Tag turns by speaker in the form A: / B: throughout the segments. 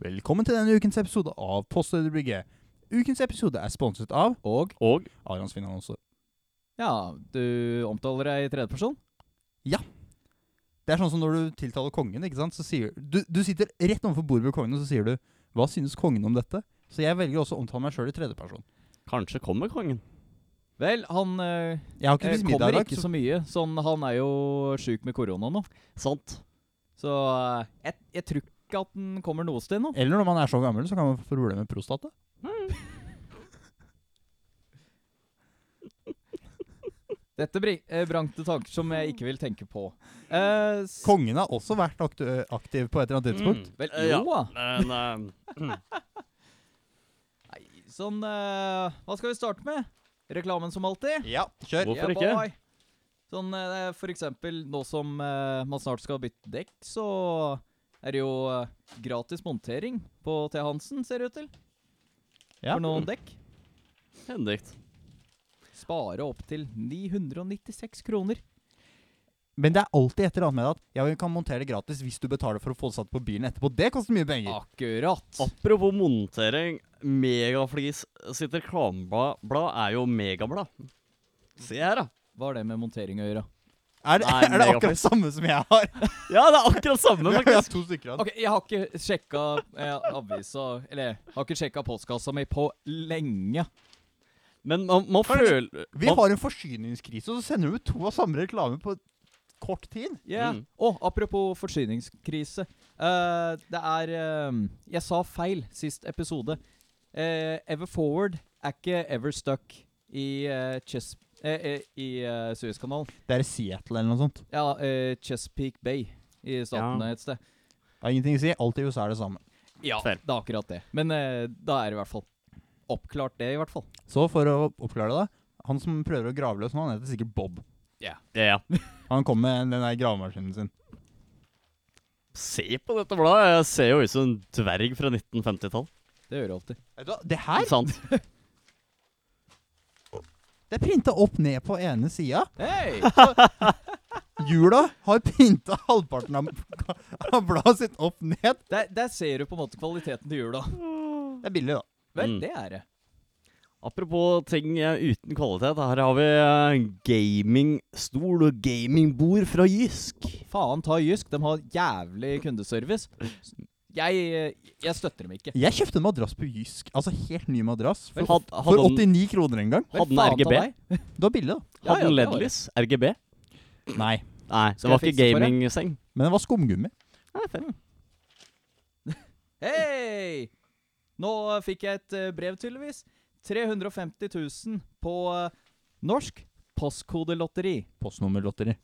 A: Velkommen til denne ukens episode av Postøyeblikket. Ukens episode er sponset av
B: Og
C: Og
A: Arans Finannonser.
B: ja, du omtaler deg i tredjeperson.
A: Det er sånn som når du tiltaler kongen, ikke sant? så sier du Du sitter rett overfor bordet ved kongen, og så sier du Hva synes kongen om dette? Så jeg velger også å omtale meg sjøl i tredjeperson.
C: kanskje kommer kongen.
B: Vel, han eh,
A: Jeg har ikke
B: eh,
A: spist middag i
B: kommer
A: dag.
B: ikke
A: Så
B: så mye. Sånn, han er jo sjuk med korona nå.
C: Sant.
B: Så eh, jeg, jeg tror ikke at den kommer noe sted nå.
A: eller når man er så gammel, så kan man få problemer med prostata.
B: Dette bring, eh, brangte tanker som jeg ikke vil tenke på. Eh, s-
A: Kongen har også vært aktu aktiv på et eller annet tidspunkt.
C: Mm.
B: Vel,
C: Eh,
B: jo da.
C: Men eh,
B: Nei, sånn eh, Hva skal vi starte med? Reklamen som alltid?
A: Ja, kjør.
C: Hvor- Hvorfor ikke?
B: boy. Sånn eh, for eksempel nå som eh, man snart skal bytte dekk, så er det jo eh, gratis montering på T. Hansen, ser det ut til.
A: Ja.
B: For noen dekk.
C: Hendikt.
B: Spare opptil 996 kroner.
A: Men det er alltid et eller annet med det at ja, vi kan montere det gratis hvis du betaler for å få det satt på bilen etterpå. Det koster mye penger.
B: Akkurat.
C: Apropos montering. Megaflis sitt reklameblad blad er jo megablad. Se her, da.
B: Hva har det med montering å gjøre?
A: Er, det-
C: Nei,
A: er det akkurat
C: megapris.
A: samme som jeg har?
C: Ja, det er akkurat samme,
A: Jeg har
C: faktisk.
A: to stykker av den.
B: Ok, Jeg har ikke sjekka eh, avisa Eller jeg har ikke sjekka postkassa mi på lenge.
C: Men man, man føler
A: Vi
C: man-
A: har en forsyningskrise, og så sender du ut to av samme reklame på kort tid.
B: Ja.
C: Mm.
B: Å, apropos forsyningskrise. Eh, det er eh, Jeg sa feil sist episode. Eh, ever forward er ikke ever stuck i uh, Chess... eh, eh, I eh, Suezkanalen.
A: Det er i Seattle eller noe sånt.
B: Ja, eh, Chesapeake Bay i statene et sted.
A: Det har ingenting å si. Alt i USA er det samme.
B: Ja,
C: Fair.
B: det er akkurat det. Men eh, da er det i hvert fall oppklart, det, i hvert fall.
A: Så for å oppklare det, da. Han som prøver å grave løs nå, han heter sikkert Bob.
C: Ja, ja.
A: Han kom med den der gravemaskinen sin.
C: Se på dette bladet. Jeg ser jo ut som en dverg fra 1950-tall.
B: Det gjør det alltid.
A: Vet du hva, Det her
C: Sant.
A: det er printa opp ned på ene sida.
B: Hei!
A: Hjula har printa halvparten av, av bladet sitt opp ned.
B: Der, der ser du på en måte kvaliteten til jula.
A: Det er billig, da.
B: Vel,
C: Mm.
B: det er det.
C: Apropos ting eh, uten kvalitet. Her har vi eh, gamingstol og gamingbord fra Jysk.
B: Faen ta Jysk, de har jævlig kundeservice. Jeg, jeg støtter dem ikke.
A: Jeg kjøpte en madrass på Jysk. Altså helt ny madrass. For,
C: Had,
A: for
C: hadde han,
A: 89 kroner en gang.
B: Vel,
C: Hadde den
B: faen ta
C: RGB?
B: deg.
A: Det var billig, da.
B: Ja, ja,
C: hadde han
B: det var det.
C: LED-lys? RGB?
A: Nei.
C: Nei,
B: Skal
C: det var
B: jeg
C: ikke
B: fikse for deg?
C: gamingseng.
A: Men det var skumgummi.
B: Hei! Nå eh, fikk jeg et eh, brev, tydeligvis. 350 000 på eh, norsk postkodelotteri.
A: Postnummerlotteri.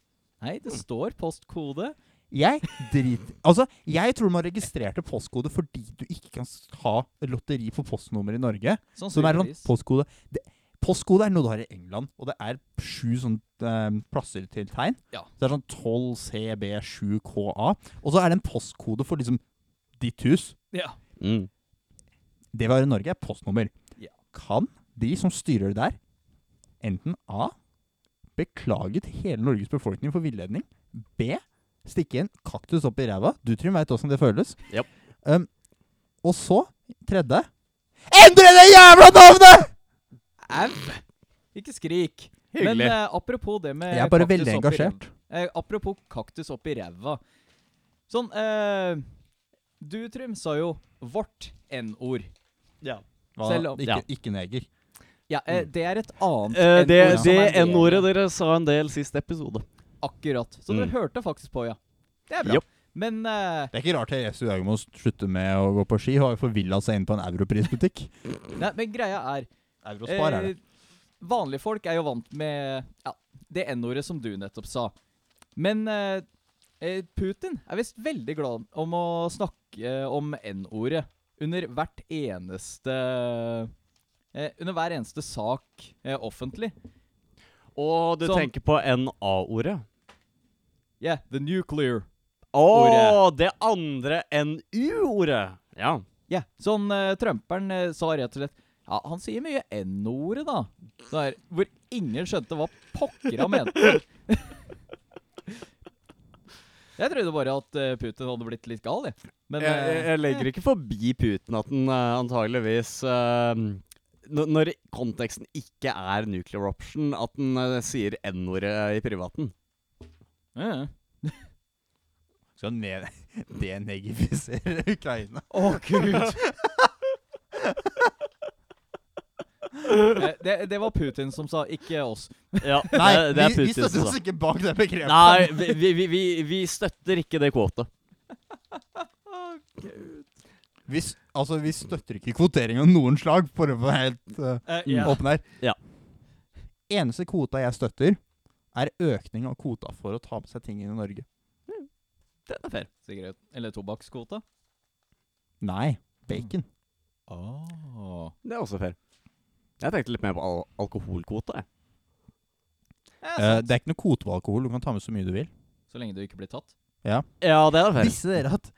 B: Nei, det står postkode.
A: Jeg driter Altså, jeg tror man registrerte postkode fordi du ikke kan s- ha lotteri for postnummer i Norge. Som er sånn
B: Sannsynligvis.
A: postkode det, Postkode er noe du har i England, og det er sju sånne eh, plasser til tegn.
B: Ja.
A: Så det er sånn 12CB7KA. Og så er det en postkode for liksom ditt hus.
B: Ja.
C: Mm.
A: Det vi har i Norge, er postnummer.
B: Ja.
A: Kan de som styrer det der, enten A beklage til hele Norges befolkning for villedning, B stikke en kaktus opp i ræva Du, Trym, veit åssen det føles.
C: Japp.
A: Um, og så, tredje Endre det jævla navnet!
B: Au! Ikke skrik. Men
C: Hyggelig.
B: eh, apropos det med
A: Jeg er bare
B: kaktus
A: veldig
B: opp i ræva.
A: engasjert.
B: Eh, apropos kaktus opp i ræva. Sånn eh, Du, Trym, sa jo vårt n-ord.
C: ja.
A: Hva?
B: Selv om-
A: ikke,
C: Ja.
A: ikke neger.
B: Ja, eh, det er et
C: Mm.
B: annet
C: Eh, det
B: N-ord som
C: det
B: er en del-
C: N-ordet dere sa en del sist episode.
B: Akkurat. Så dere
C: Mm.
B: hørte faktisk på, ja. Det er bra.
C: Jopp.
B: Men eh,
A: Det er ikke rart at Jesu Jage må slutte med å gå på ski. Hun har jo forvilla seg inn på en europrisbutikk.
B: nei, men greia er
A: Eurospar er det.
B: eh, Vanlige folk er jo vant med ja, det N-ordet som du nettopp sa. Men eh, eh, Putin er visst veldig glad om å snakke eh, om N-ordet under hvert eneste eh, Under hver eneste sak eh, offentlig.
C: Og du
B: Som-
C: tenker på NA-ordet.
B: Yeah, the nuclear.
C: Å,
B: Ordet.
C: det andre NU-ordet. Ja.
B: Ja, sånn uh, Trumperen eh, sa rett og slett Ja, han sier mye N-ordet, da. Sånn her, hvor ingen skjønte hva pokker han mente. Jeg trodde bare at eh, Putin hadde blitt litt gal, jeg. Men
C: jeg, jeg,
B: eh,
C: jeg legger ikke forbi Putin at den eh, antageligvis eh, når- Når konteksten ikke er nuclear option, at den eh, sier N-ordet i privaten.
B: ja, ja.
A: Skal ne denegifisere Ukraina?
B: Å, gud! Eh, det, det var Putin som sa, ikke oss.
C: Ja,
A: Nei,
C: det, det er
A: vi, vi
C: Putin
A: støtter
C: som
A: oss
C: sa.
A: ikke bak det begrepet.
C: Nei, vi, vi, vi- vi, vi støtter ikke det kvotet.
A: Vi, s- altså, vi støtter ikke kvotering av noen slag, for å være helt eh,
B: Eh,
C: Mm.
B: ja.
A: åpen her.
C: Ja.
A: Eneste kvota jeg støtter, er økning av kvota for å ta med seg ting inn i Norge.
C: Den er fair.
B: Sigaret. Eller tobakkskvote.
A: Nei, bacon.
B: Oh.
C: Det er også fair. Jeg tenkte litt mer på al alkoholkvota. jeg.
A: Eh, det er ikke noe kvote på alkohol. Du kan ta med så mye du vil.
B: Så lenge du ikke blir tatt.
C: Ja, det er fair.
A: Visste dere at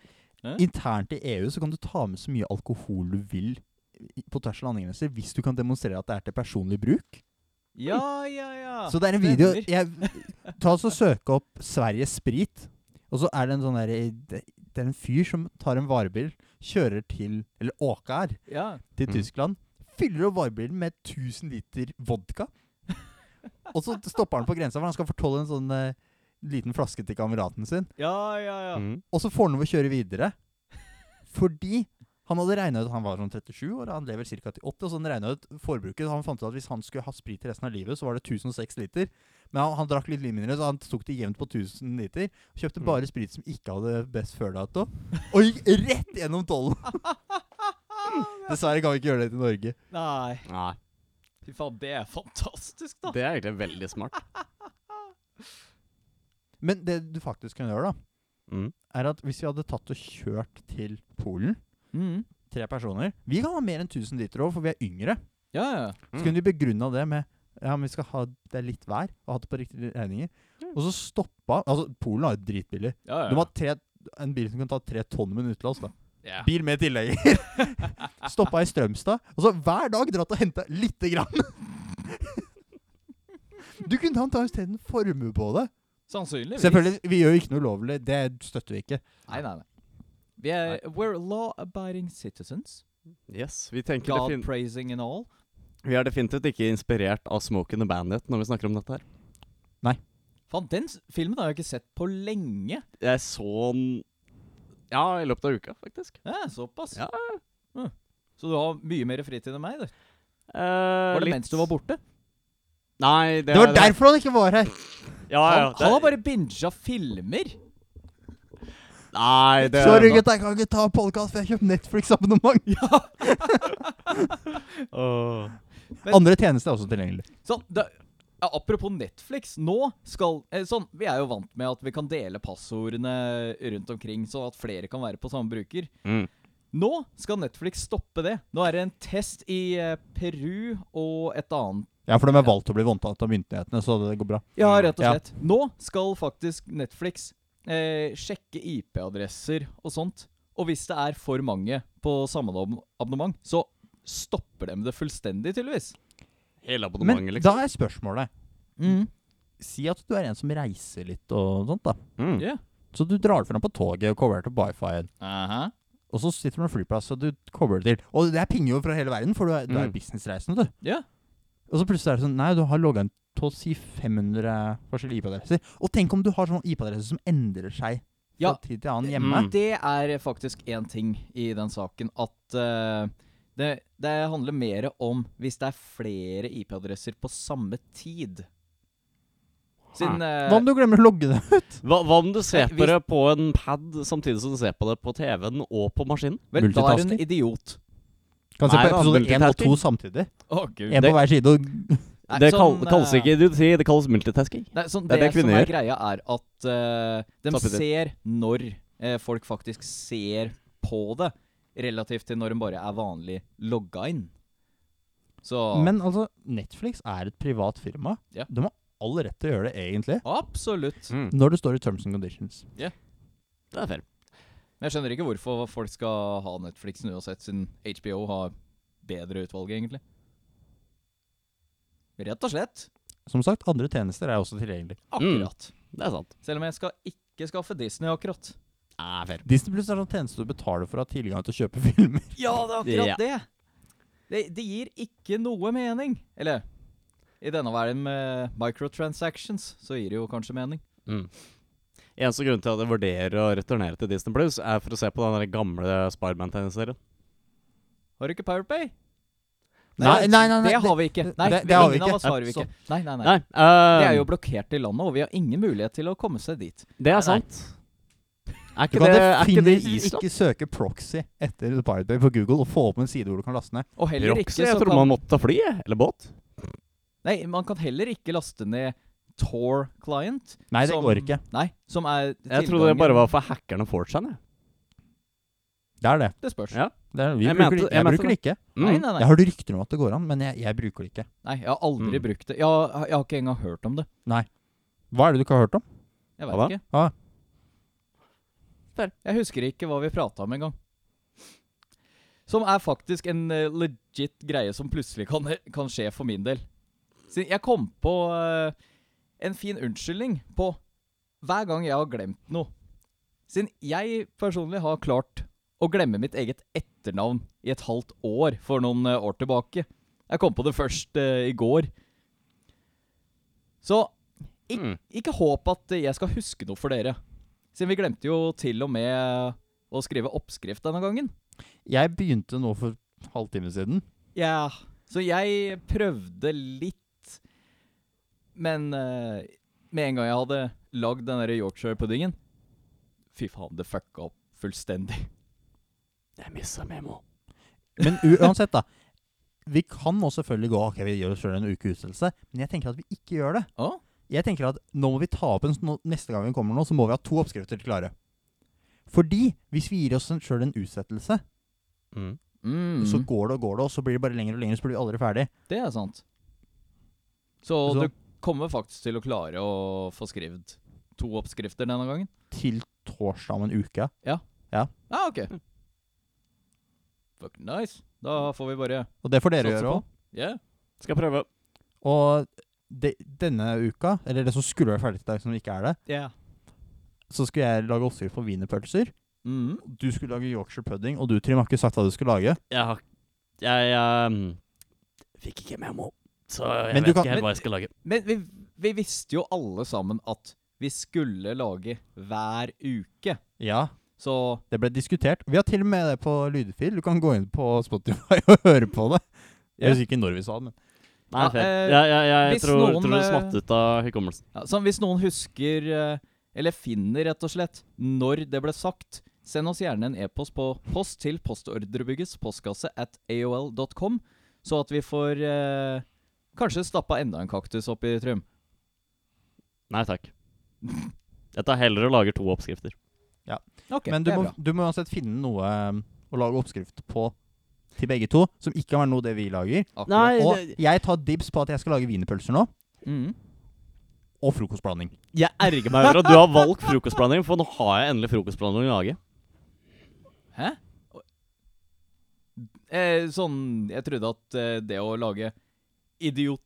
B: Hæ?
A: internt i EU så kan du ta med så mye alkohol du vil i- på tvers av landegrenser hvis du kan demonstrere at det er til personlig bruk?
B: Ja, ja, ja.
A: Så det er en
B: stemmer.
A: video jeg, Ta oss og Søk opp Sverige Sprit. Og så er det en sånn der, det det er en fyr som tar en varebil, kjører til Eller åker
B: ja.
A: til
C: Mm.
A: Tyskland. Fyller opp varebilen med 1000 liter vodka. Og så stopper han på grensa, for han skal fortolle en sånn eh, liten flaske til kameraten sin.
B: Ja, ja, ja.
C: Mm.
A: Og så får han lov å kjøre videre. Fordi han hadde regna ut Han var sånn 37 år, han lever ca. til 80, og så han regna ut forbruket. Så han fant ut at hvis han skulle ha sprit resten av livet, så var det 1006 liter. Men han, han drakk litt mindre, så han tok det jevnt på 1000 liter. Kjøpte
C: Mm.
A: bare sprit som ikke hadde best før-dato, og gikk rett gjennom tollen! Dessverre kan vi ikke gjøre det til Norge.
B: Nei.
C: Nei,
B: Fy faen, det er fantastisk, da.
C: det er egentlig veldig smart.
A: Men det du faktisk kan gjøre, da,
C: Mm.
A: er at hvis vi hadde tatt og kjørt til Polen,
B: Mm.
A: tre personer Vi kan ha mer enn 1000 liter òg, for vi er yngre.
B: Ja, ja.
A: Så
C: Mm.
A: kunne de begrunna det med Ja, men vi skal ha det er litt hver, og hatt det på riktige regninger. Og
C: Mm.
A: så stoppa Altså, Polen er jo dritbillig.
B: ja, ja.
A: De har tre, en bil som kan ta tre tonn med en utenlands, da.
B: ja.
A: Bil med tilhenger. stoppa i Strømstad. Og så hver dag dratt og henta lite grann. Du kunne ta ta isteden formue på det.
B: Sannsynligvis.
A: Selvfølgelig, Vi gjør jo ikke noe ulovlig. Det støtter vi ikke.
B: Nei, nei, nei. Vi er We're law-abiding citizens.
C: Yes, vi, tenker defin-
B: God-praising and all.
C: vi er definitivt ikke inspirert av Smoke and the Bandit når vi snakker om dette her.
B: Faen, den s- filmen har jeg ikke sett på lenge.
C: Jeg så den Ja, i løpet av uka, faktisk.
B: Ja, såpass.
C: Ja.
B: Mm. Så du har mye mer fritid enn meg, du.
C: Eh,
B: Var det
C: litt-
B: mens du var borte?
C: Nei, det,
A: Det var derfor han ikke var her!
C: Ja,
B: Han,
C: ja, det-
B: han har bare binga filmer.
C: Nei, det
A: Sorry, gutta, jeg kan ikke ta podkast, for jeg har kjøpt Netflix-abonnement.
C: Åh.
B: Men-
A: Andre tjenester er også tilgjengelig.
B: Sånn, det, ja, apropos Netflix, nå skal eh, sånn, Vi er jo vant med at vi kan dele passordene rundt omkring, sånn at flere kan være på samme bruker.
C: Mm.
B: Nå skal Netflix stoppe det. Nå er det en test i eh, Peru og et annet
A: Ja, for de er valgt å bli voldtatt av myndighetene, så det går bra.
B: Ja, rett og
A: Ja.
B: slett. Nå skal faktisk Netflix eh, sjekke IP-adresser og sånt. Og hvis det er for mange på samme ab- abonnement, så stopper de det fullstendig, tydeligvis.
C: Hele
A: Men
C: abonnementet,
A: da
C: liksom.
A: er spørsmålet Si at du er en som reiser litt og sånt, da.
C: Mm.
B: Ja.
A: Så du drar fram på toget og kobler til wifi-en.
B: Aha.
A: Og så sitter du på en flyplass og du kobler til. Og det er pinger jo fra hele verden, for du er, du er
C: Mm.
A: businessreisende, du.
B: Ja.
A: Og så plutselig er det sånn Nei, du har logga inn til å si 500 forskjellige IP-adresser. Og tenk om du har sånne IP-adresser som endrer seg fra
B: Ja.
A: tid til annen hjemme.
C: Mm.
B: Det er faktisk én ting i den saken at eh, det, det handler mer om hvis det er flere IP-adresser på samme tid. Siden eh,
A: Hva om du glemmer å logge det?
C: Hva, hva om du ser
B: Nei,
C: på
B: Eh, hvis-
C: det på en pad samtidig som du ser på det på TV-en og på maskinen?
B: Vel, da er hun
A: multitasking?
B: idiot.
A: Kan se
C: Nei,
A: på
C: da,
A: episode 1 og
C: multitasking.
A: 2 samtidig.
B: Å, gud.
A: Én på
C: Det-
A: hver side. Og
B: Nei,
C: det
B: sånn,
C: kall, kalles
B: eh,
C: ikke idioti, det kalles multitasking.
B: Nei,
C: Det
B: sånn,
C: er
B: det,
C: det
B: som
C: kvinner
B: er
C: gjør.
B: greia, er at eh, de
C: Samtidig.
B: ser når eh, folk faktisk ser på det, relativt til når de bare er vanlig logga inn. Så
A: Men altså, Netflix er et privat firma.
B: Ja.
A: De har all rett til å gjøre det, egentlig.
B: absolutt.
A: Når det står i terms and conditions.
C: Det er fair.
B: Men jeg skjønner ikke hvorfor folk skal ha Netflix uansett, siden HBO har bedre utvalg, egentlig. Rett og slett.
A: Som sagt, andre tjenester er også tilgjengelig.
B: Akkurat.
C: Det er sant.
B: Selv om jeg skal ikke ikke skaffe Disney, akkurat.
C: Nei, fair.
A: Disney Plus er sånn tjeneste du betaler for å ha tilgang til å kjøpe filmer.
B: Ja, det er akkurat
C: Ja.
B: det. det! Det gir ikke noe mening. Eller i denne verden med microtransactions, så gir det jo kanskje mening.
C: Mm. Eneste grunn til at jeg vurderer å returnere til Disney Plus, er for å se på den der gamle Spiderman-tegneserien.
B: Har du ikke PowerPay?
A: Nei, nei, nei, nei,
B: det har vi ikke. Nei, det, har vi ikke. Av oss har vi
A: Så-
B: ikke. Nei, nei, nei.
C: Nei, eh,
B: Det er jo blokkert i landet, og vi har ingen mulighet til å komme seg dit.
C: det
B: nei.
C: er sant. Er
A: Du
C: ikke
A: kan
C: det, er ikke det
A: definitivt
C: Island?
A: ikke søke proxy etter Pirate Bay på Google og få opp en side hvor du kan laste ned.
B: Og heller
C: Roxy,
B: ikke
C: jeg
B: så
C: trodde
B: kan
C: man måtte ta fly, jeg, eller båt.
B: Nei, man kan heller ikke laste ned Tor Client.
A: Nei, det
B: som-
A: går ikke.
B: Nei, som er
C: Jeg trodde det bare var for hackerne og 4chan. jeg.
A: Det er det.
B: Det spørs.
C: Ja.
A: det, er, vi
C: Jeg
A: bruker,
C: mente-
A: det ikke.
C: jeg
A: jeg
C: mente
A: bruker det ikke.
B: Nei,
C: Mm.
B: nei,
A: Jeg
B: nei.
A: hørte rykter om at det går an, men jeg, jeg bruker det ikke.
B: nei. Jeg har aldri
C: Mm.
B: brukt det. Jeg har, jeg har ikke engang hørt om det.
A: Hva er det du ikke har hørt om?
B: Jeg
C: Hva
B: vet
C: da?
B: ikke.
A: Hva?
B: Der. Jeg husker ikke hva vi prata om engang. Som er faktisk en eh, legit greie som plutselig kan, kan skje for min del. Så jeg kom på eh, en fin unnskyldning på hver gang jeg har glemt noe. Siden jeg personlig har klart å glemme mitt eget etternavn i et halvt år for noen eh, år tilbake. Jeg kom på det først eh, i går. Så Ik-
C: Mm.
B: ikke håp at jeg skal huske noe for dere. Siden vi glemte jo til og med å skrive oppskrift denne gangen.
A: Jeg begynte nå for halvtime siden.
B: Ja. Så jeg prøvde litt, men eh, med en gang jeg hadde lagd den der Yorkshire-puddingen Fy faen, det fucka opp fullstendig.
C: Jeg missa memo.
A: Men u uansett, da. Vi kan nå selvfølgelig gå Ok, vi gjør oss sjøl en uke utsettelse, men jeg tenker at vi ikke gjør det.
B: Å?
A: Jeg tenker at nå må vi ta opp en sånn Neste gang vi kommer nå, så må vi ha to oppskrifter klare. Fordi hvis vi gir oss sjøl en utsettelse,
C: Mm.
B: Mm,
A: så går det og går det, og så blir det bare lenger og lenger, så blir vi aldri ferdig.
B: det er sant. Så,
A: Så-
B: du kommer faktisk til å klare å få skrevet to oppskrifter denne gangen?
A: Til torsdag om en uke.
B: Ja, ah, OK. Fuck nice. Da får vi bare
A: Og det får dere
B: Satser
A: gjøre
B: på.
A: òg.
B: Ja.
C: Skal jeg prøve.
A: Og de, denne uka, eller det som skulle være ferdig til deg, som ikke er det, så skulle jeg lage oppskrift på wienerpølser.
B: Mhm.
A: Du skulle lage Yorkshire pudding, og du, Trym, har ikke sagt hva du skulle lage.
C: Jeg har Jeg ehm, fikk ikke memo, så jeg
A: Men du
C: vet
A: kan-
C: ikke helt
B: men-
C: hva jeg skal lage.
B: Men vi, vi visste jo alle sammen at vi skulle lage hver uke.
A: Ja,
B: Så
A: det ble diskutert. Vi har til og med det på lydfil. Du kan gå inn på Spotify og høre på det.
B: Ja.
A: Jeg husker ikke når vi sa det, men
C: Nei,
B: Ja,
C: fair.
B: eh,
C: jeg jeg, jeg,
B: hvis
C: tror,
B: noen,
C: tror det
B: eh,
C: smatt ut av hukommelsen.
B: ja, så hvis noen husker, eh, eller finner rett og slett, når det ble sagt, send oss gjerne en e-post på post til postordrebyggets postkasse at aol.com, så at vi får eh, kanskje stappa enda en kaktus opp i Trym.
C: Nei takk. Jeg tar heller og lager to oppskrifter.
B: Ok,
A: Men du
B: det er
A: må,
B: bra.
A: du må uansett finne noe um, å lage oppskrift på til begge to, som ikke kan være noe det vi lager.
B: Akkurat.
C: Nei.
A: Og
C: det-
A: jeg tar dibs på at jeg skal lage wienerpølser nå,
B: Mhm.
A: og frokostblanding.
C: Jeg erger meg over at du har valgt frokostblanding, for nå har jeg endelig frokostblanding å lage.
B: Hæ? Eh, sånn Jeg trodde at eh, det å lage idiot,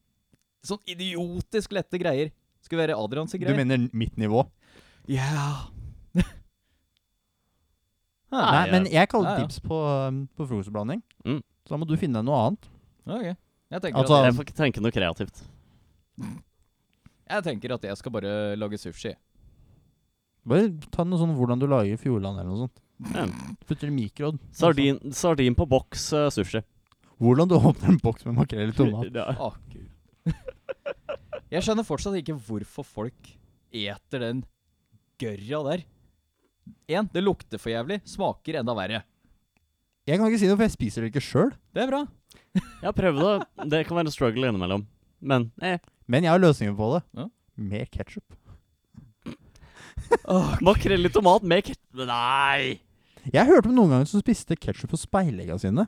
B: sånn idiotisk lette greier skulle være Adrians
A: Du
B: greier.
A: mener mitt nivå?
B: Ja.
C: Nei,
A: Nei,
C: jeg-
A: men jeg kaller
B: Ja, ja.
A: dibs på, um, på frokostblanding.
C: Mm.
A: Så da må du finne deg noe annet.
B: Ok. Jeg tenker,
A: Altså-
B: at,
C: Jeg får ikke tenke noe kreativt.
B: jeg tenker at jeg skal bare lage sushi.
A: Bare ta noe sånn hvordan du lager Fjordland eller noe sånt.
C: Ja.
A: Putter i mikroen. Sånn.
C: Sardin, sardin på boks eh, sushi.
A: Hvordan du åpner en boks med makrell i tomat.
C: Ja.
B: Å, Gud. Jeg skjønner fortsatt ikke hvorfor folk eter den gørra der. En, det lukter for jævlig. Smaker enda verre.
A: Jeg kan ikke si noe, for jeg spiser det ikke sjøl.
B: Det er bra.
C: Jeg har prøvd det. Det kan være en struggle innimellom. Men eh,
A: Men jeg har løsningen på det.
B: Ja.
A: Mer ketsjup.
C: makrell i tomat med ket... Nei!
A: Jeg hørte om noen ganger som spiste ketsjup på speilegga sine.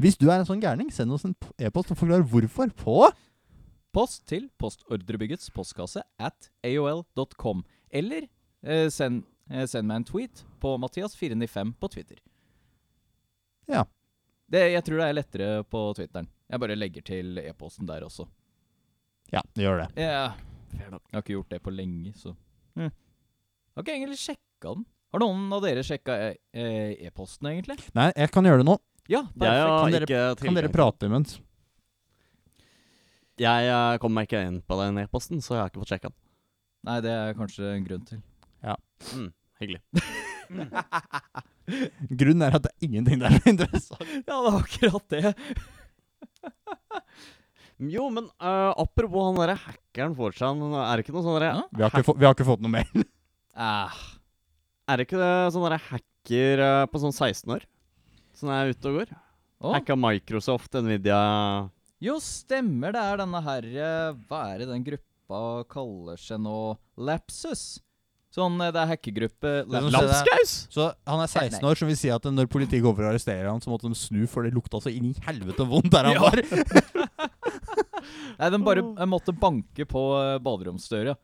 A: Hvis du er en sånn gærning, send oss en p- e-post og forklar hvorfor på
B: Post til postordrebyggets postkasse at aol.com. Eller eh, send, eh, send meg en tweet på Mathias495 på Twitter.
A: Ja.
B: Det, jeg tror det er lettere på Twitteren. Jeg bare legger til e-posten der også.
A: Ja, gjør det.
B: Jeg har ikke gjort det på lenge, så Har ikke egentlig sjekka den. Har noen av dere sjekka e- eh, e-posten, egentlig?
A: Nei, jeg kan gjøre det nå.
B: Ja,
C: Jeg
B: perfekt.
A: Kan
C: har
A: dere-
C: ikke
A: Kan dere
C: tilgang.
A: prate imens?
C: Jeg eh, kom meg ikke inn på den e-posten, så jeg har ikke fått sjekka den.
B: Nei, det er kanskje en grunn til.
C: Mm, hyggelig.
A: Grunnen er at det er ingenting der som er interessant.
B: Ja, det er akkurat det.
C: Jo, men eh, apropos han derre hackeren Forchan, er det ikke noe sånn derre
B: Ja.
A: Vi har ikke, få, vi har ikke fått noe mer.
B: Eh,
C: Er det ikke det sånn derre hacker eh, på sånn 16 år? Sånn er ute og går.
B: å,
C: Hacka Microsoft, Nvidia
B: jo, stemmer det er denne her eh, Hva er det den gruppa kaller seg nå? Lapsus? Sånn, eh, det er hackergruppe
A: som
B: Lapsus.
A: skjedde-
C: Lapskaus!
A: Så han er 16 år, som vil si at når politiet går for å arrestere ham, så måtte de snu, for det lukta så inn i helvete vondt der han
B: Ja.
A: var.
B: Nei, den bare eh, måtte banke på eh, baderomsdøra.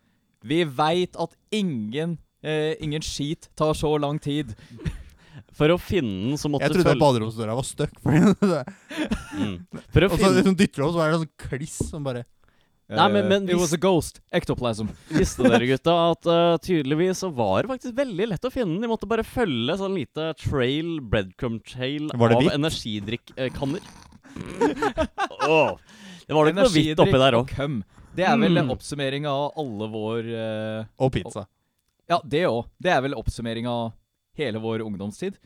B: Vi veit at ingen eh, Ingen skit tar så lang tid.
C: For å finne den, så måtte
A: Jeg
C: du
A: trodde at
C: følge
A: baderomsdøra var stuck. fordi det-
C: mm. For å
A: Og så
C: finne
A: liksom dytter du opp, så er det sånn kliss som bare
C: Nei, men-
B: Eh,
C: men
B: It
C: hvis-
B: was a ghost. Ektoplasm.
C: Visste dere, gutta, at eh, tydeligvis så var det faktisk veldig lett å finne den. De måtte bare følge sånn lite trail, breadcrumb trail
A: Var det
C: av
A: hvitt?
C: energidrikkanner. Åh, Det var nok noe hvitt oppi der òg.
B: Køm. Det er vel
C: Mm.
B: mm. oppsummeringa av alle vår eh,
A: Og pizza.
B: Ja, det òg. Det er vel oppsummering av hele vår ungdomstid.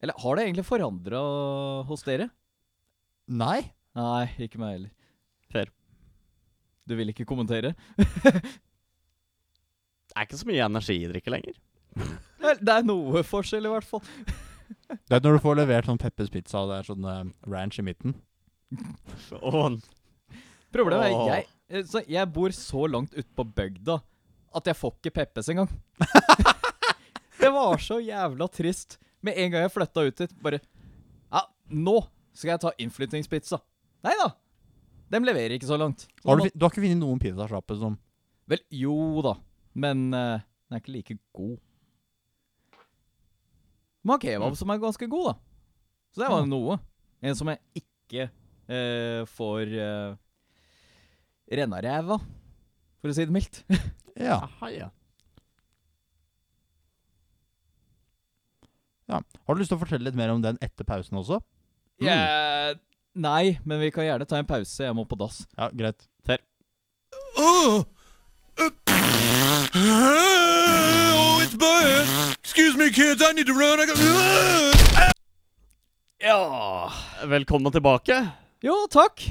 B: Eller har det egentlig forandra hos dere?
A: Nei.
B: Nei, ikke meg heller.
C: Fair.
B: Du vil ikke kommentere?
C: Det er ikke så mye energidrikke lenger.
B: Vel, det er noe forskjell, i hvert fall.
A: Det er når du får levert sånn Peppers pizza, og det er sånn eh, ranch i midten.
C: Åh,
B: Problemet er
C: Åh.
B: jeg, eh, så jeg bor så langt ute på bygda at jeg får ikke Peppes engang. det var så jævla trist. Med en gang jeg flytta ut hit, bare Ja, nå skal jeg ta innflyttingspizza. Nei da! Dem leverer ikke så langt. Så
A: Har du,
B: da-
A: fin- du har ikke funnet noen pizzasjappe som
B: Vel, jo da. Men eh, den er ikke like god. Man har kebab som er ganske god, da. Så det var
A: Ja.
B: noe. En som jeg ikke eh, får uh, renna ræva, for å si det mildt.
A: Ja.
C: aha, ja.
A: Har du lyst til å fortelle litt mer om den etter pausen også?
C: Mm.
B: Jeg- Nei, men vi kan gjerne ta en pause. Jeg må på dass.
A: Ja, greit.
D: Oh, uh, oh it's bad. Excuse me, kids. I need to run. I got.
B: Ja
C: Velkommen tilbake.
B: Jo, takk.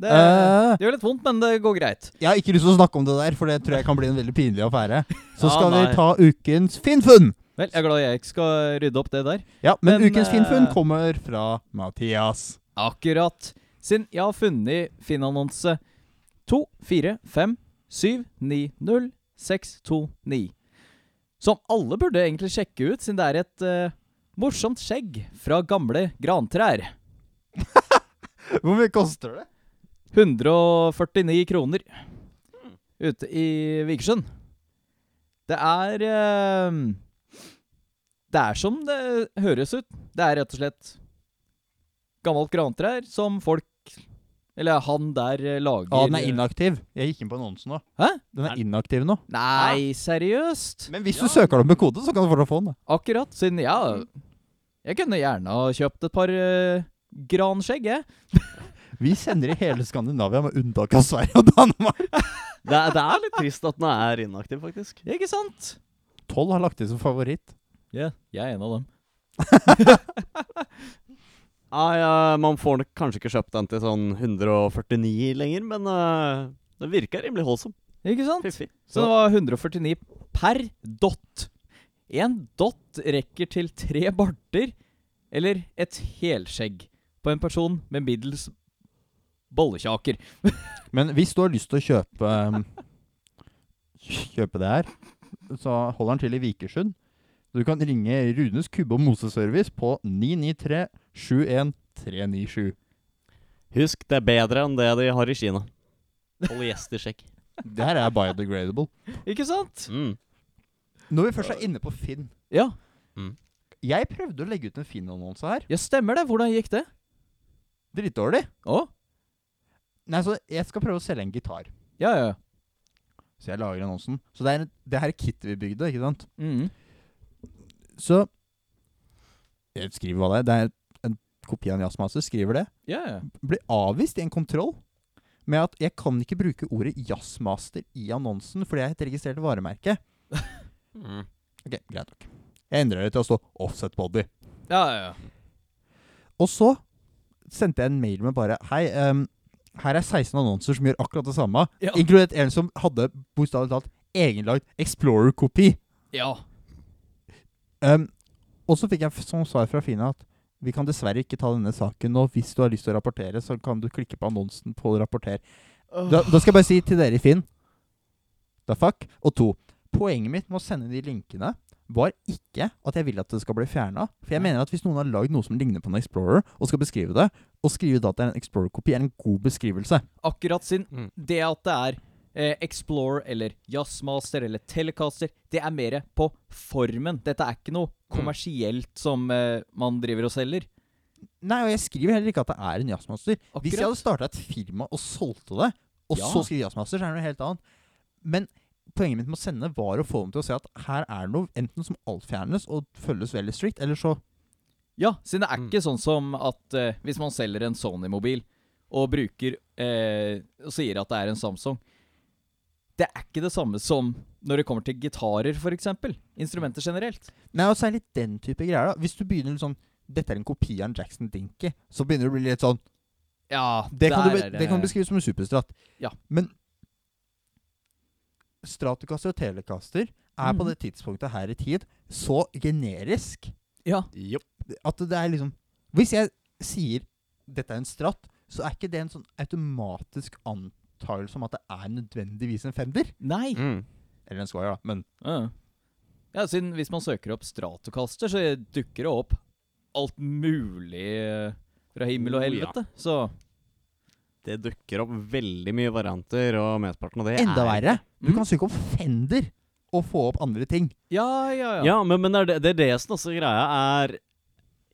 B: Det,
A: Eh.
B: det gjør litt vondt, men det går greit.
A: Jeg har ikke lyst til å snakke om det der, for det tror jeg kan bli en veldig pinlig affære. Så
C: Ja,
A: skal
C: nei.
A: vi ta ukens Finnfunn!
B: Vel, jeg er glad jeg ikke skal rydde opp det der.
A: Ja, men,
B: Men,
A: ukens Finnfunn
B: eh,
A: kommer fra Mathias.
B: Akkurat. Siden jeg har funnet Finn-annonse 2, 4, 5, 7, 9, 0, 6, 2, 9. Som alle burde egentlig sjekke ut, siden det er et eh, morsomt skjegg fra gamle grantrær.
A: Hvor mye koster det?
B: 149 kroner ute i Vikersund. Det er eh, Det er som det høres ut. Det er rett og slett gammelt grantrær som folk Eller han der eh, lager
A: Ja, den er inaktiv. Jeg gikk inn på annonsen nå.
B: Hæ?
A: Den er inaktiv nå.
B: Nei, seriøst?
A: Men hvis du søker den opp med kode, så kan du fortsatt få den. da.
B: Akkurat, siden ja Jeg kunne gjerne ha kjøpt et par eh, granskjegg, jeg.
A: Vi sender i hele Skandinavia, med unntak av Sverige og Danmark.
C: Det er, det er litt trist at den er inaktiv, faktisk.
B: Ikke sant?
A: Toll har lagt det som favoritt.
B: Ja, jeg er en av dem.
C: Nei, eh, man får nok kanskje ikke kjøpt den til sånn 149 lenger, men eh, det virker rimelig holdsom.
B: Ikke sant?
C: Fiffig.
B: Så det var 149 per dott. En dott rekker til tre barter eller et helskjegg på en person med middels bollekjaker.
A: Men hvis du har lyst til å kjøpe um, Kjøpe det her, så holder han til i Vikersund. Du kan ringe Runes kubbe- og moseservice på 993 71397.
C: Husk, det er bedre enn det de har i Kina. Polyestersekk.
A: Det her er biodegradable.
B: Ikke sant?
C: Mm.
A: Når vi først er inne på Finn
B: Ja,
A: Jeg prøvde å legge ut en Finn-annonse her.
B: ja stemmer det. Hvordan gikk det?
A: Dritdårlig.
B: Å?
A: Nei, så jeg skal prøve å selge en gitar.
B: Ja, ja. ja.
A: Så jeg lager annonsen. Så det er det her er kittet vi bygde, ikke sant?
B: Mhm.
A: Så Jeg skriver hva det er. Det er en kopi av en jazzmaster. Skriver det.
B: Ja, ja.
A: Blir avvist i en kontroll med at jeg kan ikke bruke ordet jazzmaster i annonsen fordi jeg er et registrert varemerke. Ok, Greit nok. Jeg endrer det til å stå Offset Body.
B: ja, ja, ja.
A: Og så sendte jeg en mail med bare Hei, ehm, her er 16 annonser som gjør akkurat det samme,
B: Ja.
A: inkludert en som hadde bokstavelig talt egenlagd Explorer-kopi.
B: ja.
A: Ehm, og så fikk jeg f- som svar fra Fina at vi kan dessverre ikke ta denne saken nå. Hvis du har lyst til å rapportere, så kan du klikke på annonsen på rapporter. Da, da skal jeg bare si til dere i Finn The fuck. Og to. Poenget mitt med å sende de linkene var ikke at jeg vil at det skal bli fjerna. For jeg mener at hvis noen har lagd noe som ligner på en Explorer, og skal beskrive det, og skrive da at det er en Explorer-kopi, er en god beskrivelse.
B: Akkurat sin
C: Mm.
B: Det at det er eh, Explorer eller Jazzmaster eller Telecaster, det er mer på formen. Dette er ikke noe kommersielt som eh, man driver og selger.
A: Nei, og jeg skriver heller ikke at det er en jazzmaster. Hvis jeg
B: Akkurat.
A: hadde starta et firma og solgte det, og
B: Ja.
A: så skrev Jazzmaster, så er det noe helt annet. Men poenget mitt med å sende var å få dem til å se at her er det noe enten som alt fjernes og følges veldig strikt, eller så
B: Ja, siden det er
C: Mm.
B: ikke sånn som at eh, hvis man selger en Sony-mobil og bruker eh, og sier at det er en Samsung Det er ikke det samme som når det kommer til gitarer, f.eks. Instrumenter generelt.
A: Nei, altså, og særlig den type greier, da. Hvis du begynner litt sånn Dette er en kopi av en Jackson Dinky, så begynner det å bli litt sånn
B: Ja,
A: Det kan, du,
B: der
A: be,
B: er eh,
A: det kan du beskrive som en superstrat.
B: Ja.
A: Men Stratocaster og Telecaster er på
B: Mhm.
A: det tidspunktet her i tid så generisk
B: Ja.
C: Jopp.
A: at det er liksom Hvis jeg sier dette er en stratt, så er ikke det en sånn automatisk antakelse om at det er nødvendigvis en femmer.
B: Nei.
C: Mm.
A: Eller en squire, da. Men
B: Ja. Ja, siden hvis man søker opp Stratocaster, så dukker det opp alt mulig eh, fra himmel og
C: Oh, ja.
B: helvete. Så
C: Det dukker opp veldig mye varianter, og mesteparten av det
A: enda
C: er
A: verre. Du
B: Mm.
A: kan søke opp Fender og få opp andre ting.
B: Ja, ja, ja.
C: Ja, men, men det, er det, det er det som også er greia er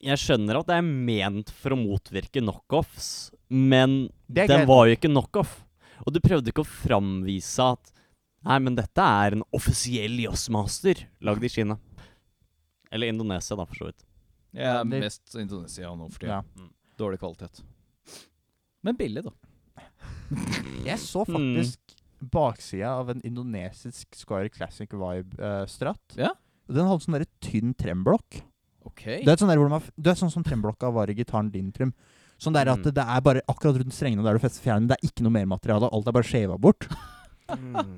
C: Jeg skjønner at det er ment for å motvirke knockoffs, men
A: Det er greit.
C: den var jo ikke knockoff. Og du prøvde ikke å framvise at Nei, men dette er en offisiell jazzmaster lagd i Kina. Eller Indonesia, da, for så vidt.
B: Jeg er
A: det-
B: mest Indonesia nå for tida.
A: Ja.
B: Dårlig kvalitet. Men billig, da.
A: Jeg så faktisk baksida av en indonesisk Squire Classic Vibe-stratt.
B: Ja.
A: Den hadde sånn der tynn tremblokk.
B: OK.
A: Det er, et sånn der hvor de har, det er sånn som tremblokka var i gitaren din, Trym. Sånn der at
C: Mm.
A: det er bare akkurat rundt strengene der du fester fjernen. Det er ikke noe mer materiale. Alt er bare skjeva bort. Mm.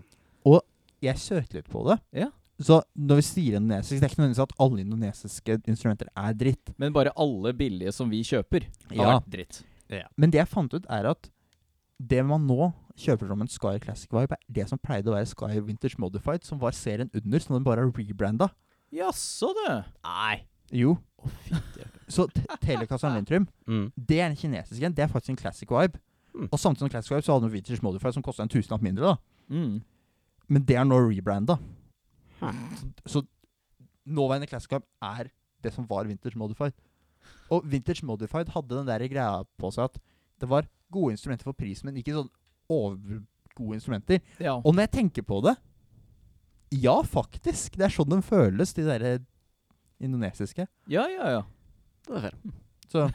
A: Jeg søkte litt på det.
B: Ja.
A: Så når vi sier indonesisk, det er ikke nødvendigvis at alle indonesiske instrumenter er dritt.
B: Men bare alle billige som vi kjøper, har vært dritt.
A: Men det jeg fant ut, er at det man nå kjøper som en Sky Classic Vibe, er det som pleide å være Sky Vintage Modified, som var serien under, som den bare har rebranda.
B: Jaså, du.
C: Nei.
A: Jo.
C: Å, fytti rakkeren.
A: Så te- Telecasseren Lintrum,
C: Mm.
A: det er en kinesisk en. Det er faktisk en Classic Vibe.
C: Hmm.
A: Og samtidig som Classic Vibe så hadde den Vintage Modified som kosta en tusenlapp mindre, da.
B: Mm.
A: Men det er nå rebranda. Så, så nåværende Classic Vibe er det som var Vintage Modified. Og Vintage Modified hadde den der greia på seg at det var gode instrumenter for pris, men ikke sånn overgode instrumenter.
B: Ja.
A: Og når jeg tenker på det Ja, faktisk. Det er sånn de føles, de derre indonesiske.
B: ja, ja, ja.
C: Det er fair.
A: Så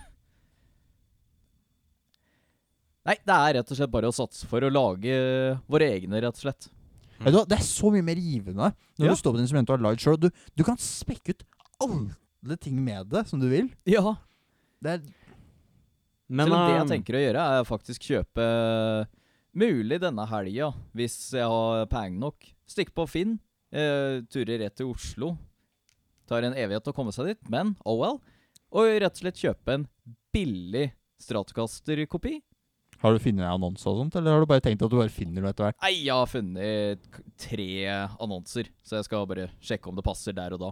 B: Nei, det er rett og slett bare å satse for å lage våre egne, rett og slett.
A: Vet du hva, Det er så mye mer givende når
B: Ja.
A: du står på et instrument og har lagd sjøl. Du, du kan spekke ut alle ting med det som du vil.
B: Ja.
A: Det er,
C: Men
B: Selv om det jeg
C: eh,
B: tenker å gjøre, er faktisk kjøpe Mulig denne helga, hvis jeg har penger nok. Stikke på Finn. Eh, turer rett til Oslo. Tar en evighet å komme seg dit, men oh well. Og rett og slett kjøpe en billig Stratocaster-kopi.
A: har du funnet annonser og sånt, eller har du bare tenkt at du bare finner noe etter hvert?
B: Nei, jeg har funnet k- tre annonser, så jeg skal bare sjekke om det passer der og da.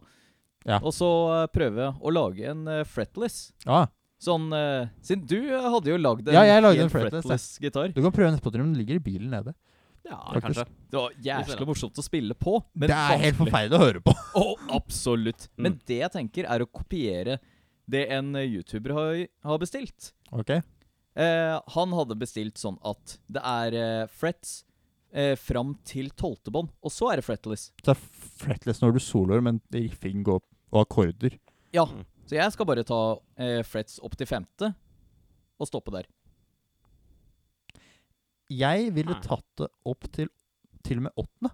A: Ja.
B: Og så eh, prøve å lage en eh, fretless.
A: Ja,
B: Sånn eh, Siden du hadde jo lagd en
A: Ja, jeg lagde en
B: helt
A: fretless, jeg.
B: gitar.
A: Du kan prøve den etterpå, Trym. Den ligger i bilen nede.
C: Ja,
A: faktisk. sånn.
C: kanskje.
B: Det var jævlig morsomt å spille på. Men
A: det er helt
B: vanskelig.
A: forferdelig Mm. å høre på.
B: Å, absolutt. Men det jeg tenker, er å kopiere det en eh, YouTuber har, har bestilt.
A: Ok,
B: Eh, han hadde bestilt sånn at det er eh, frets, eh, fram til tolvte bånd, og så er det fretless.
A: Så det er fretless når du soloer, men riffing går og akkorder.
B: Ja,
C: Mm.
B: så jeg skal bare ta eh, frets opp til femte og stoppe der.
A: Jeg ville
C: Ah.
A: tatt det opp til til og med åttende.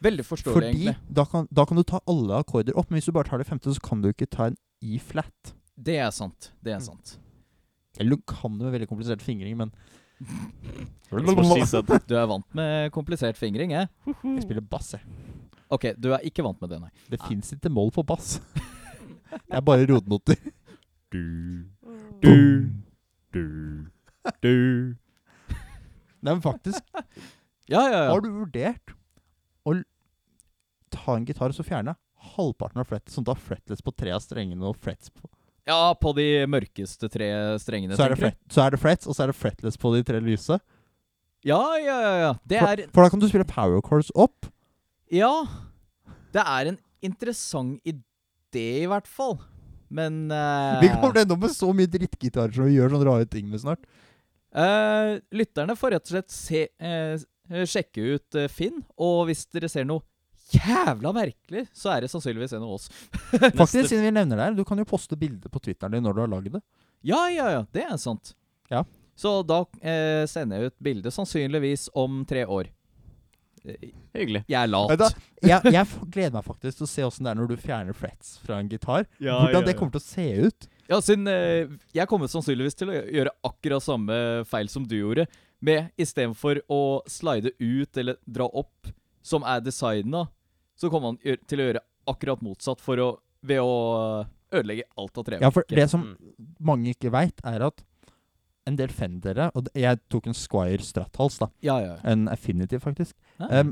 B: Veldig forståelig,
A: Fordi
B: egentlig.
A: da kan, da kan du ta alle akkorder opp, men hvis du bare tar det femte, så kan du ikke ta en E E-flat.
B: Det er sant. Det er
C: Mm.
B: sant.
A: Eller du kan det med veldig komplisert fingring, men
C: That's what she
A: Jeg
C: said.
B: Du er vant med komplisert fingring, jeg.
A: spiller bass, jeg.
B: Ok, du er ikke vant med det, nei.
A: Det fins ikke mål på bass. Det er bare rodnoter.
C: Du, du, du, du.
A: Nei, men faktisk,
B: Ja, ja, ja.
A: har du vurdert å l- ta en gitar og så fjerne halvparten av fretless, sånn at du har fretless på tre av strengene og frets på
B: Ja, på de mørkeste tre strengene,
A: så er, det
B: tenker du?
A: fret, så er det frets, og så er det fretless på de tre lyse.
B: Ja, ja, ja, ja. Det
A: For,
B: er
A: for da kan du spille power chords opp.
B: Ja. Det er en interessant idé, i hvert fall. Men eh,
A: Vi kommer til å ende opp med så mye drittgitarer som vi gjør sånne rare ting med snart.
B: eh, Lytterne får rett og slett se, eh, sjekke ut eh, Finn, og hvis dere ser noe jævla merkelig, så er det sannsynligvis en av oss.
A: Faktisk, siden vi nevner det her, du kan jo poste bilder på Twitteren din når du har lagd det.
B: Ja, ja, ja. Det er sant.
A: Ja.
B: Så da eh, sender jeg ut bilde, sannsynligvis om tre år. Eh,
C: Hyggelig.
B: Jeg er lat.
A: Vet du hva? Jeg, jeg f- gleder meg faktisk til å se åssen det er når du fjerner frets fra en gitar. Hvordan det kommer til å se ut.
B: Ja, siden eh, jeg kommer sannsynligvis til å gjøre akkurat samme feil som du gjorde, med istedenfor å slide ut eller dra opp, som er designa, så kommer han gjør- til å gjøre akkurat motsatt for å, ved å ødelegge alt av treverket.
A: Ja, for det
C: Mm.
A: som mange ikke veit, er at en del fendere Og det- jeg tok en Squire Strathals, da.
B: Ja, ja, ja.
A: En Affinity, faktisk.
B: Ah.
A: Em,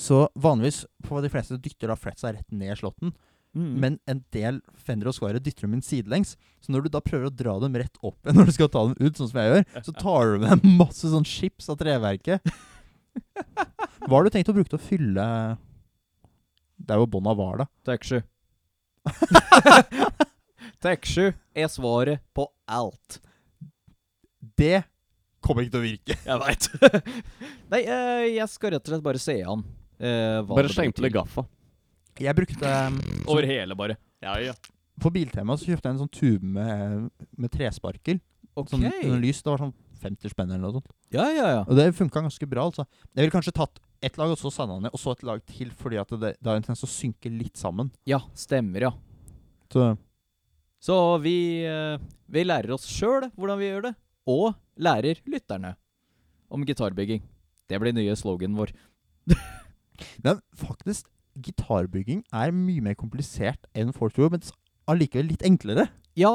A: så vanligvis på de fleste dytter da fretsa rett ned i slåtten.
B: Mm.
A: Men en del Fender og Squire dytter dem inn sidelengs. Så når du da prøver å dra dem rett opp igjen når du skal ta dem ut, sånn som jeg gjør, så tar du med deg masse sånn chips av treverket. Hva har du tenkt å bruke til å fylle Det er jo bånda var, da.
B: Takk sju. Takk sju er svaret på alt.
A: Det kommer ikke til å virke.
B: Jeg veit. Nei, eh, jeg skal rett og slett bare se an. eh, hva
C: Bare
B: det
C: sleng
B: blir
C: på litt
B: til.
C: gaffa.
A: Jeg brukte um,
B: Over hele, bare.
C: Ja, ja.
A: På Biltema så kjøpte jeg en sånn tube med, med tresparker.
B: Ok.
A: Sånn, sånn lys. Det var sånn 50 spenn eller noe sånt.
B: Ja, ja, ja.
A: Og det funka ganske bra. altså. Jeg ville kanskje tatt ett lag, og så sanda ned, og så et lag til, fordi at det, det har en tendens til å synke litt sammen.
B: Ja, stemmer, ja.
A: Så
B: Så vi, eh, vi lærer oss sjøl hvordan vi gjør det, og lærer lytterne om gitarbygging. Det blir nye sloganen vår.
A: Men faktisk, gitarbygging er mye mer komplisert enn folk tror, men s- allikevel litt enklere.
B: Ja.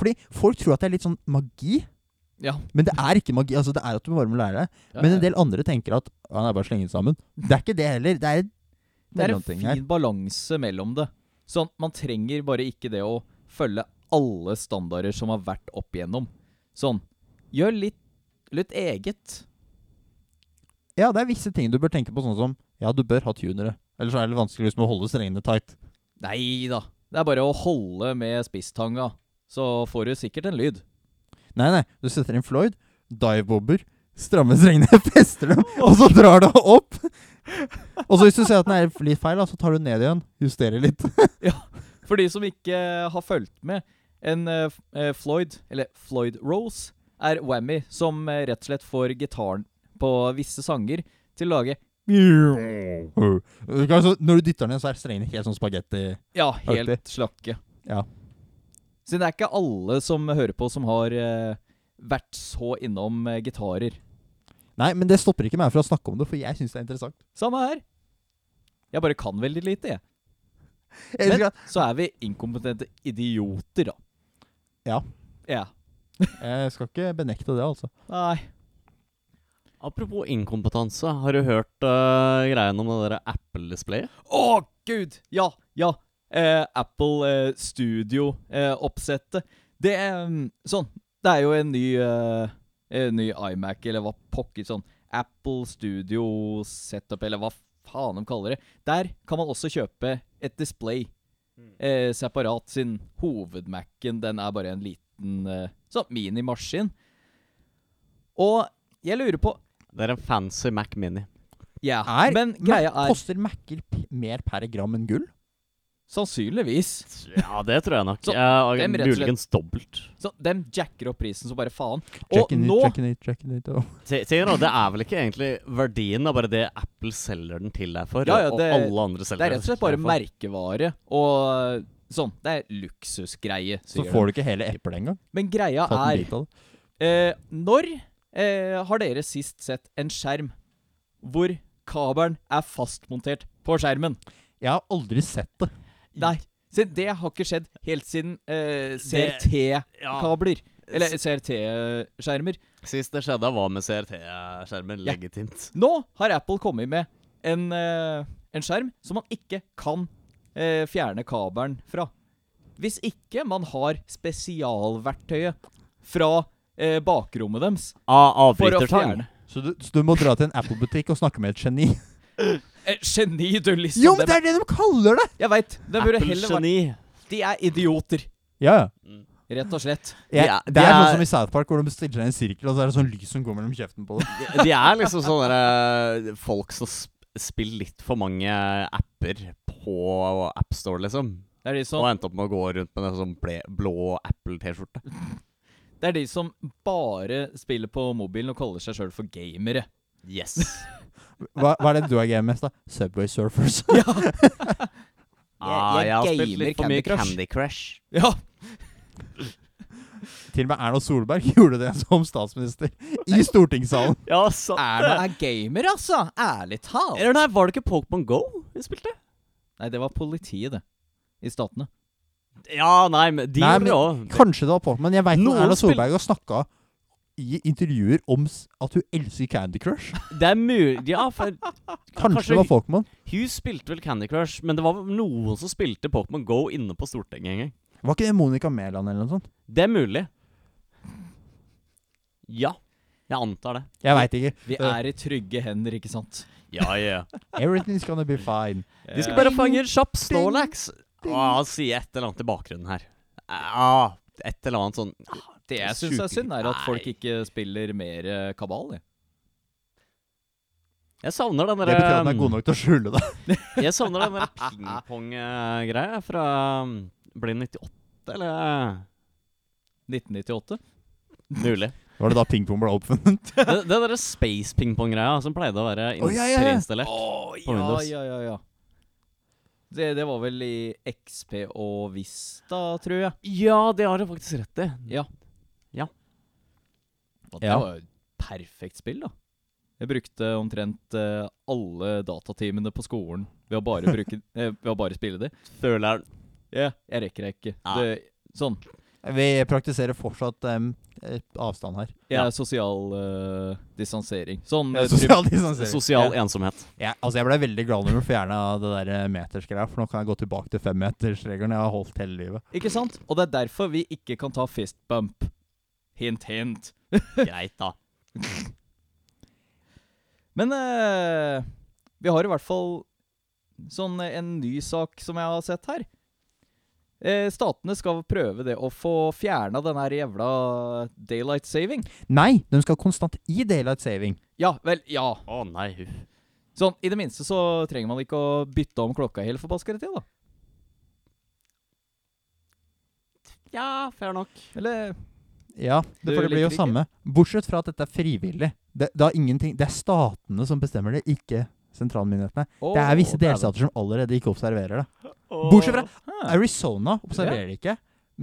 A: Fordi folk tror at det er litt sånn magi,
B: Ja.
A: men det er ikke magi. Altså, det er at du bare må lære det. Men en del andre tenker at ja, det er bare å slenge det sammen. Det er ikke det heller. Det er en
B: Det er en
A: mellomting her.
B: fin balanse mellom det. Sånn, Man trenger bare ikke det å følge alle standarder som har vært opp igjennom. Sånn, gjør litt, litt eget.
A: Ja, det er visse ting du bør tenke på, sånn som ja, du bør ha tunere. Ellers så er det vanskelig liksom, å holde strengene tight.
B: Nei da. Det er bare å holde med spisstanga, så får du sikkert en lyd.
A: Nei, nei, du setter inn Floyd, divebobber, strammer strengene, fester dem, og så drar du opp. Og så hvis du ser at den er litt feil, da, så tar du den ned igjen, justerer litt.
B: For de som ikke har fulgt med, en eh, f- eh, Floyd, eller Floyd Rose, er Whammy, som eh, rett og slett får gitaren på visse sanger til å lage
A: Uh. Du kan så- Når du dytter ned, så er strengene helt sånn spagetti.
B: Ja, helt
A: Artig.
B: slakke.
A: Ja.
B: Siden det er ikke alle som hører på, som har eh, vært så innom eh, gitarer.
A: Nei, men det stopper ikke meg fra å snakke om det, for jeg syns det er interessant.
B: Samme her. Jeg bare kan veldig lite, jeg.
A: Jeg husker
B: Men så er vi inkompetente idioter, da.
A: Ja.
B: Ja.
A: at- jeg skal ikke benekte det, altså.
B: Nei.
C: Apropos inkompetanse, har du hørt uh, greien om det der Apple-displayet?
B: Å, gud! Ja, ja. Eh, Apple eh, Studio-oppsettet. det er mm, sånn Det er jo en ny, eh, en ny iMac, eller hva pocket sånn Apple Studio Setup, eller hva faen de kaller det. Der kan man også kjøpe et display eh, separat, siden hovedmacen den er bare en liten eh, sånn minimaskin. Og jeg lurer på
C: Det er en fancy Mac Mini.
B: Ja,
A: Er-
B: men greia
A: Men
B: er
A: Koster Mac-er p- mer per gram enn gull?
B: sannsynligvis
C: Ja, det tror jeg nok.
B: Så,
C: Eh,
B: dem rett og slett-
C: Muligens dobbelt.
B: Så de jacker opp prisen som bare faen. Og
A: Check in it,
B: nå
A: check in it, check in it, og-
C: Si- Sier da, Det er vel ikke egentlig verdien, det er bare det Apple selger den til deg for.
B: Ja, ja,
C: og
B: det-
C: alle andre selger
B: Det er rett og slett bare
C: den til deg for.
B: merkevare og sånn. Det er luksusgreie.
A: Så
B: sier
A: får du ikke hele eplet engang.
B: de. Men greia
A: Tatt en
B: er
A: bit av det.
B: eh, Når eh, har dere sist sett en skjerm hvor kabelen er fastmontert på skjermen?
A: Jeg har aldri sett det.
B: Nei. Se, det har ikke skjedd helt siden eh,
C: Det-
B: CRT-kabler. Eller CRT-skjermer.
C: Sist det skjedde, var med CRT-skjermen.
B: Ja.
C: Legitimt.
B: Nå har Apple kommet med en, eh, en skjerm som man ikke kan eh, fjerne kabelen fra. Hvis ikke man har spesialverktøyet fra eh, bakrommet deres
C: Ah,
B: for å
C: Avbrytertang.
B: fjerne
A: Så du, så du må dra til en Apple-butikk og snakke med et geni?
B: eh, Geni, du, liksom.
A: Jo, men
B: dem-
A: det er det de kaller det!
B: Jeg veit. De burde heller vært
C: Apple-geni.
B: De er idioter,
A: Ja, ja.
B: rett og slett.
A: Jeg,
C: Ja,
A: det
C: det
A: er
C: er-
A: sånn som i South Park, hvor de stiller seg i en sirkel, og så er det sånn lys som går mellom kjeften på dem.
C: De- De er liksom sånne der, eh, folk som sp- spiller litt for mange apper på AppStore, liksom.
B: Det er de som,
C: Og endte opp med å gå rundt med en sånn ble, blå Apple-T-skjorte.
B: det er de som bare spiller på mobilen og kaller seg sjøl for gamere.
C: Yes.
A: Hva, hva er det du er game mest, da? Subway Surfers.
C: Ah,
B: jeg
C: jeg har
B: gamer
C: spilt litt for mye
B: Candy Crush.
C: Candy Crush.
B: Ja,
A: Til og med Erna Solberg gjorde det som statsminister i stortingssalen.
C: Ja, sant
B: Erna er gamer, altså. Ærlig talt.
C: Eller nei, var det ikke Pokémon Go vi spilte?
B: Nei, det var politiet, det. I statene.
C: Ja, nei, men de
A: Nei,
C: gjorde det òg.
A: Kanskje det var på, men jeg veit
C: Noen
A: Erna
C: spill-
A: Solberg har snakka i intervjuer om s- at hun elsker Candy Crush.
C: Det er mulig Ja, for
A: Kanskje det var Pokémon.
C: Hun spilte vel Candy Crush, men det var vel noen som spilte Pokémon Go inne på Stortinget en gang.
A: Var ikke det Monica Mæland eller noe sånt?
C: Det er mulig. Ja. Jeg antar det.
A: Jeg veit ikke.
B: Vi
A: Det-
B: er i trygge hender, ikke sant?
C: Ja, ja.
A: Everything's gonna be fine.
C: De
B: Eh,
C: skal bare
A: Ding,
C: fange en kjapp
A: ding,
C: Snorlax.
A: ding.
C: Ah, si et eller annet i bakgrunnen her. Ah, et eller annet sånn ah,
B: Det jeg syns er
C: superlitt.
B: synd, er at folk
C: Nei.
B: ikke spiller mer eh, kabal. jeg.
C: Jeg savner den um,
A: Det betyr at den er god
C: derre
A: nok til å skjule det.
C: Jeg savner den der pingpong-greia fra um, Ble det 98, eller?
B: 1998.
C: Mulig.
A: Var det da pingpong ble oppfunnet?
C: Den, den derre space pingpong-greia som pleide å være
A: Å, ja, ja, ja.
C: preinstallert. På
B: ja,
C: Windows.
B: ja, ja, ja. Det, det var vel i XP og Vista, tror jeg.
C: Ja, det har du faktisk rett i.
B: Ja.
C: Ja.
B: Og det
A: Ja.
B: var jo et perfekt spill, da. Jeg brukte omtrent eh, alle datatimene på skolen ved å bare, bruke, eh, ved å bare spille det.
C: Føler
B: Ja, jeg rekker det ikke.
C: Nei.
B: Det, sånn.
A: Vi praktiserer fortsatt em, eh, avstand her.
B: Jeg
C: Ja.
B: er sosial eh, distansering. Sånn eh, typ-
A: Sosial distansering.
C: sosial ensomhet.
A: Ja, altså jeg ble veldig glad når du fjerna det der eh, metersgreia, for nå kan jeg gå tilbake til femmetersregelen jeg har holdt hele livet.
B: Ikke sant? Og det er derfor vi ikke kan ta fist bump. Hint, hint.
C: Greit, da.
B: Men eh, vi har i hvert fall sånn eh, en ny sak som jeg har sett her. Eh, statene skal prøve det å få fjerna den her jævla daylight saving.
A: Nei, de skal konstant i daylight saving.
B: Ja, vel, ja.
C: Å nei, huff.
B: Sånn, I det minste så trenger man ikke å bytte om klokka hele forbaskede tida, da.
C: Ja, fair nok.
B: Eller
A: Ja,
B: Du
A: det, for det blir jo
B: liker ikke?
A: samme. Bortsett fra at dette er frivillig. Det, det, har ingenting, det er statene som bestemmer det, ikke sentralmyndighetene. det er visse altså. delstater som allerede ikke observerer det. Bortsett fra
B: Ah,
A: Arizona observerer det ikke.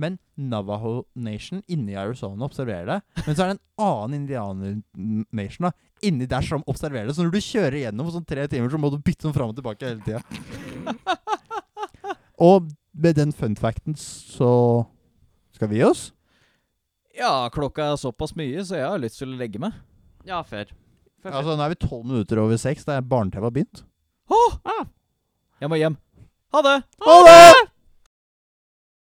A: Men Navajo Nation inni Arizona observerer det. Men så er det en annen indianer-nation da, inni der som observerer det. Så når du kjører gjennom sånn tre timer, så må du bytte sånn fram og tilbake hele tida. Og med den fun facten så skal vi gi oss.
B: ja, klokka er såpass mye, så jeg har lyst til å legge meg.
C: Ja, fair. fair, fair.
A: Altså, nå er vi tolv minutter over seks. Det er barne-TV har begynt.
B: Jeg må hjem. Ha det!
A: Ha det!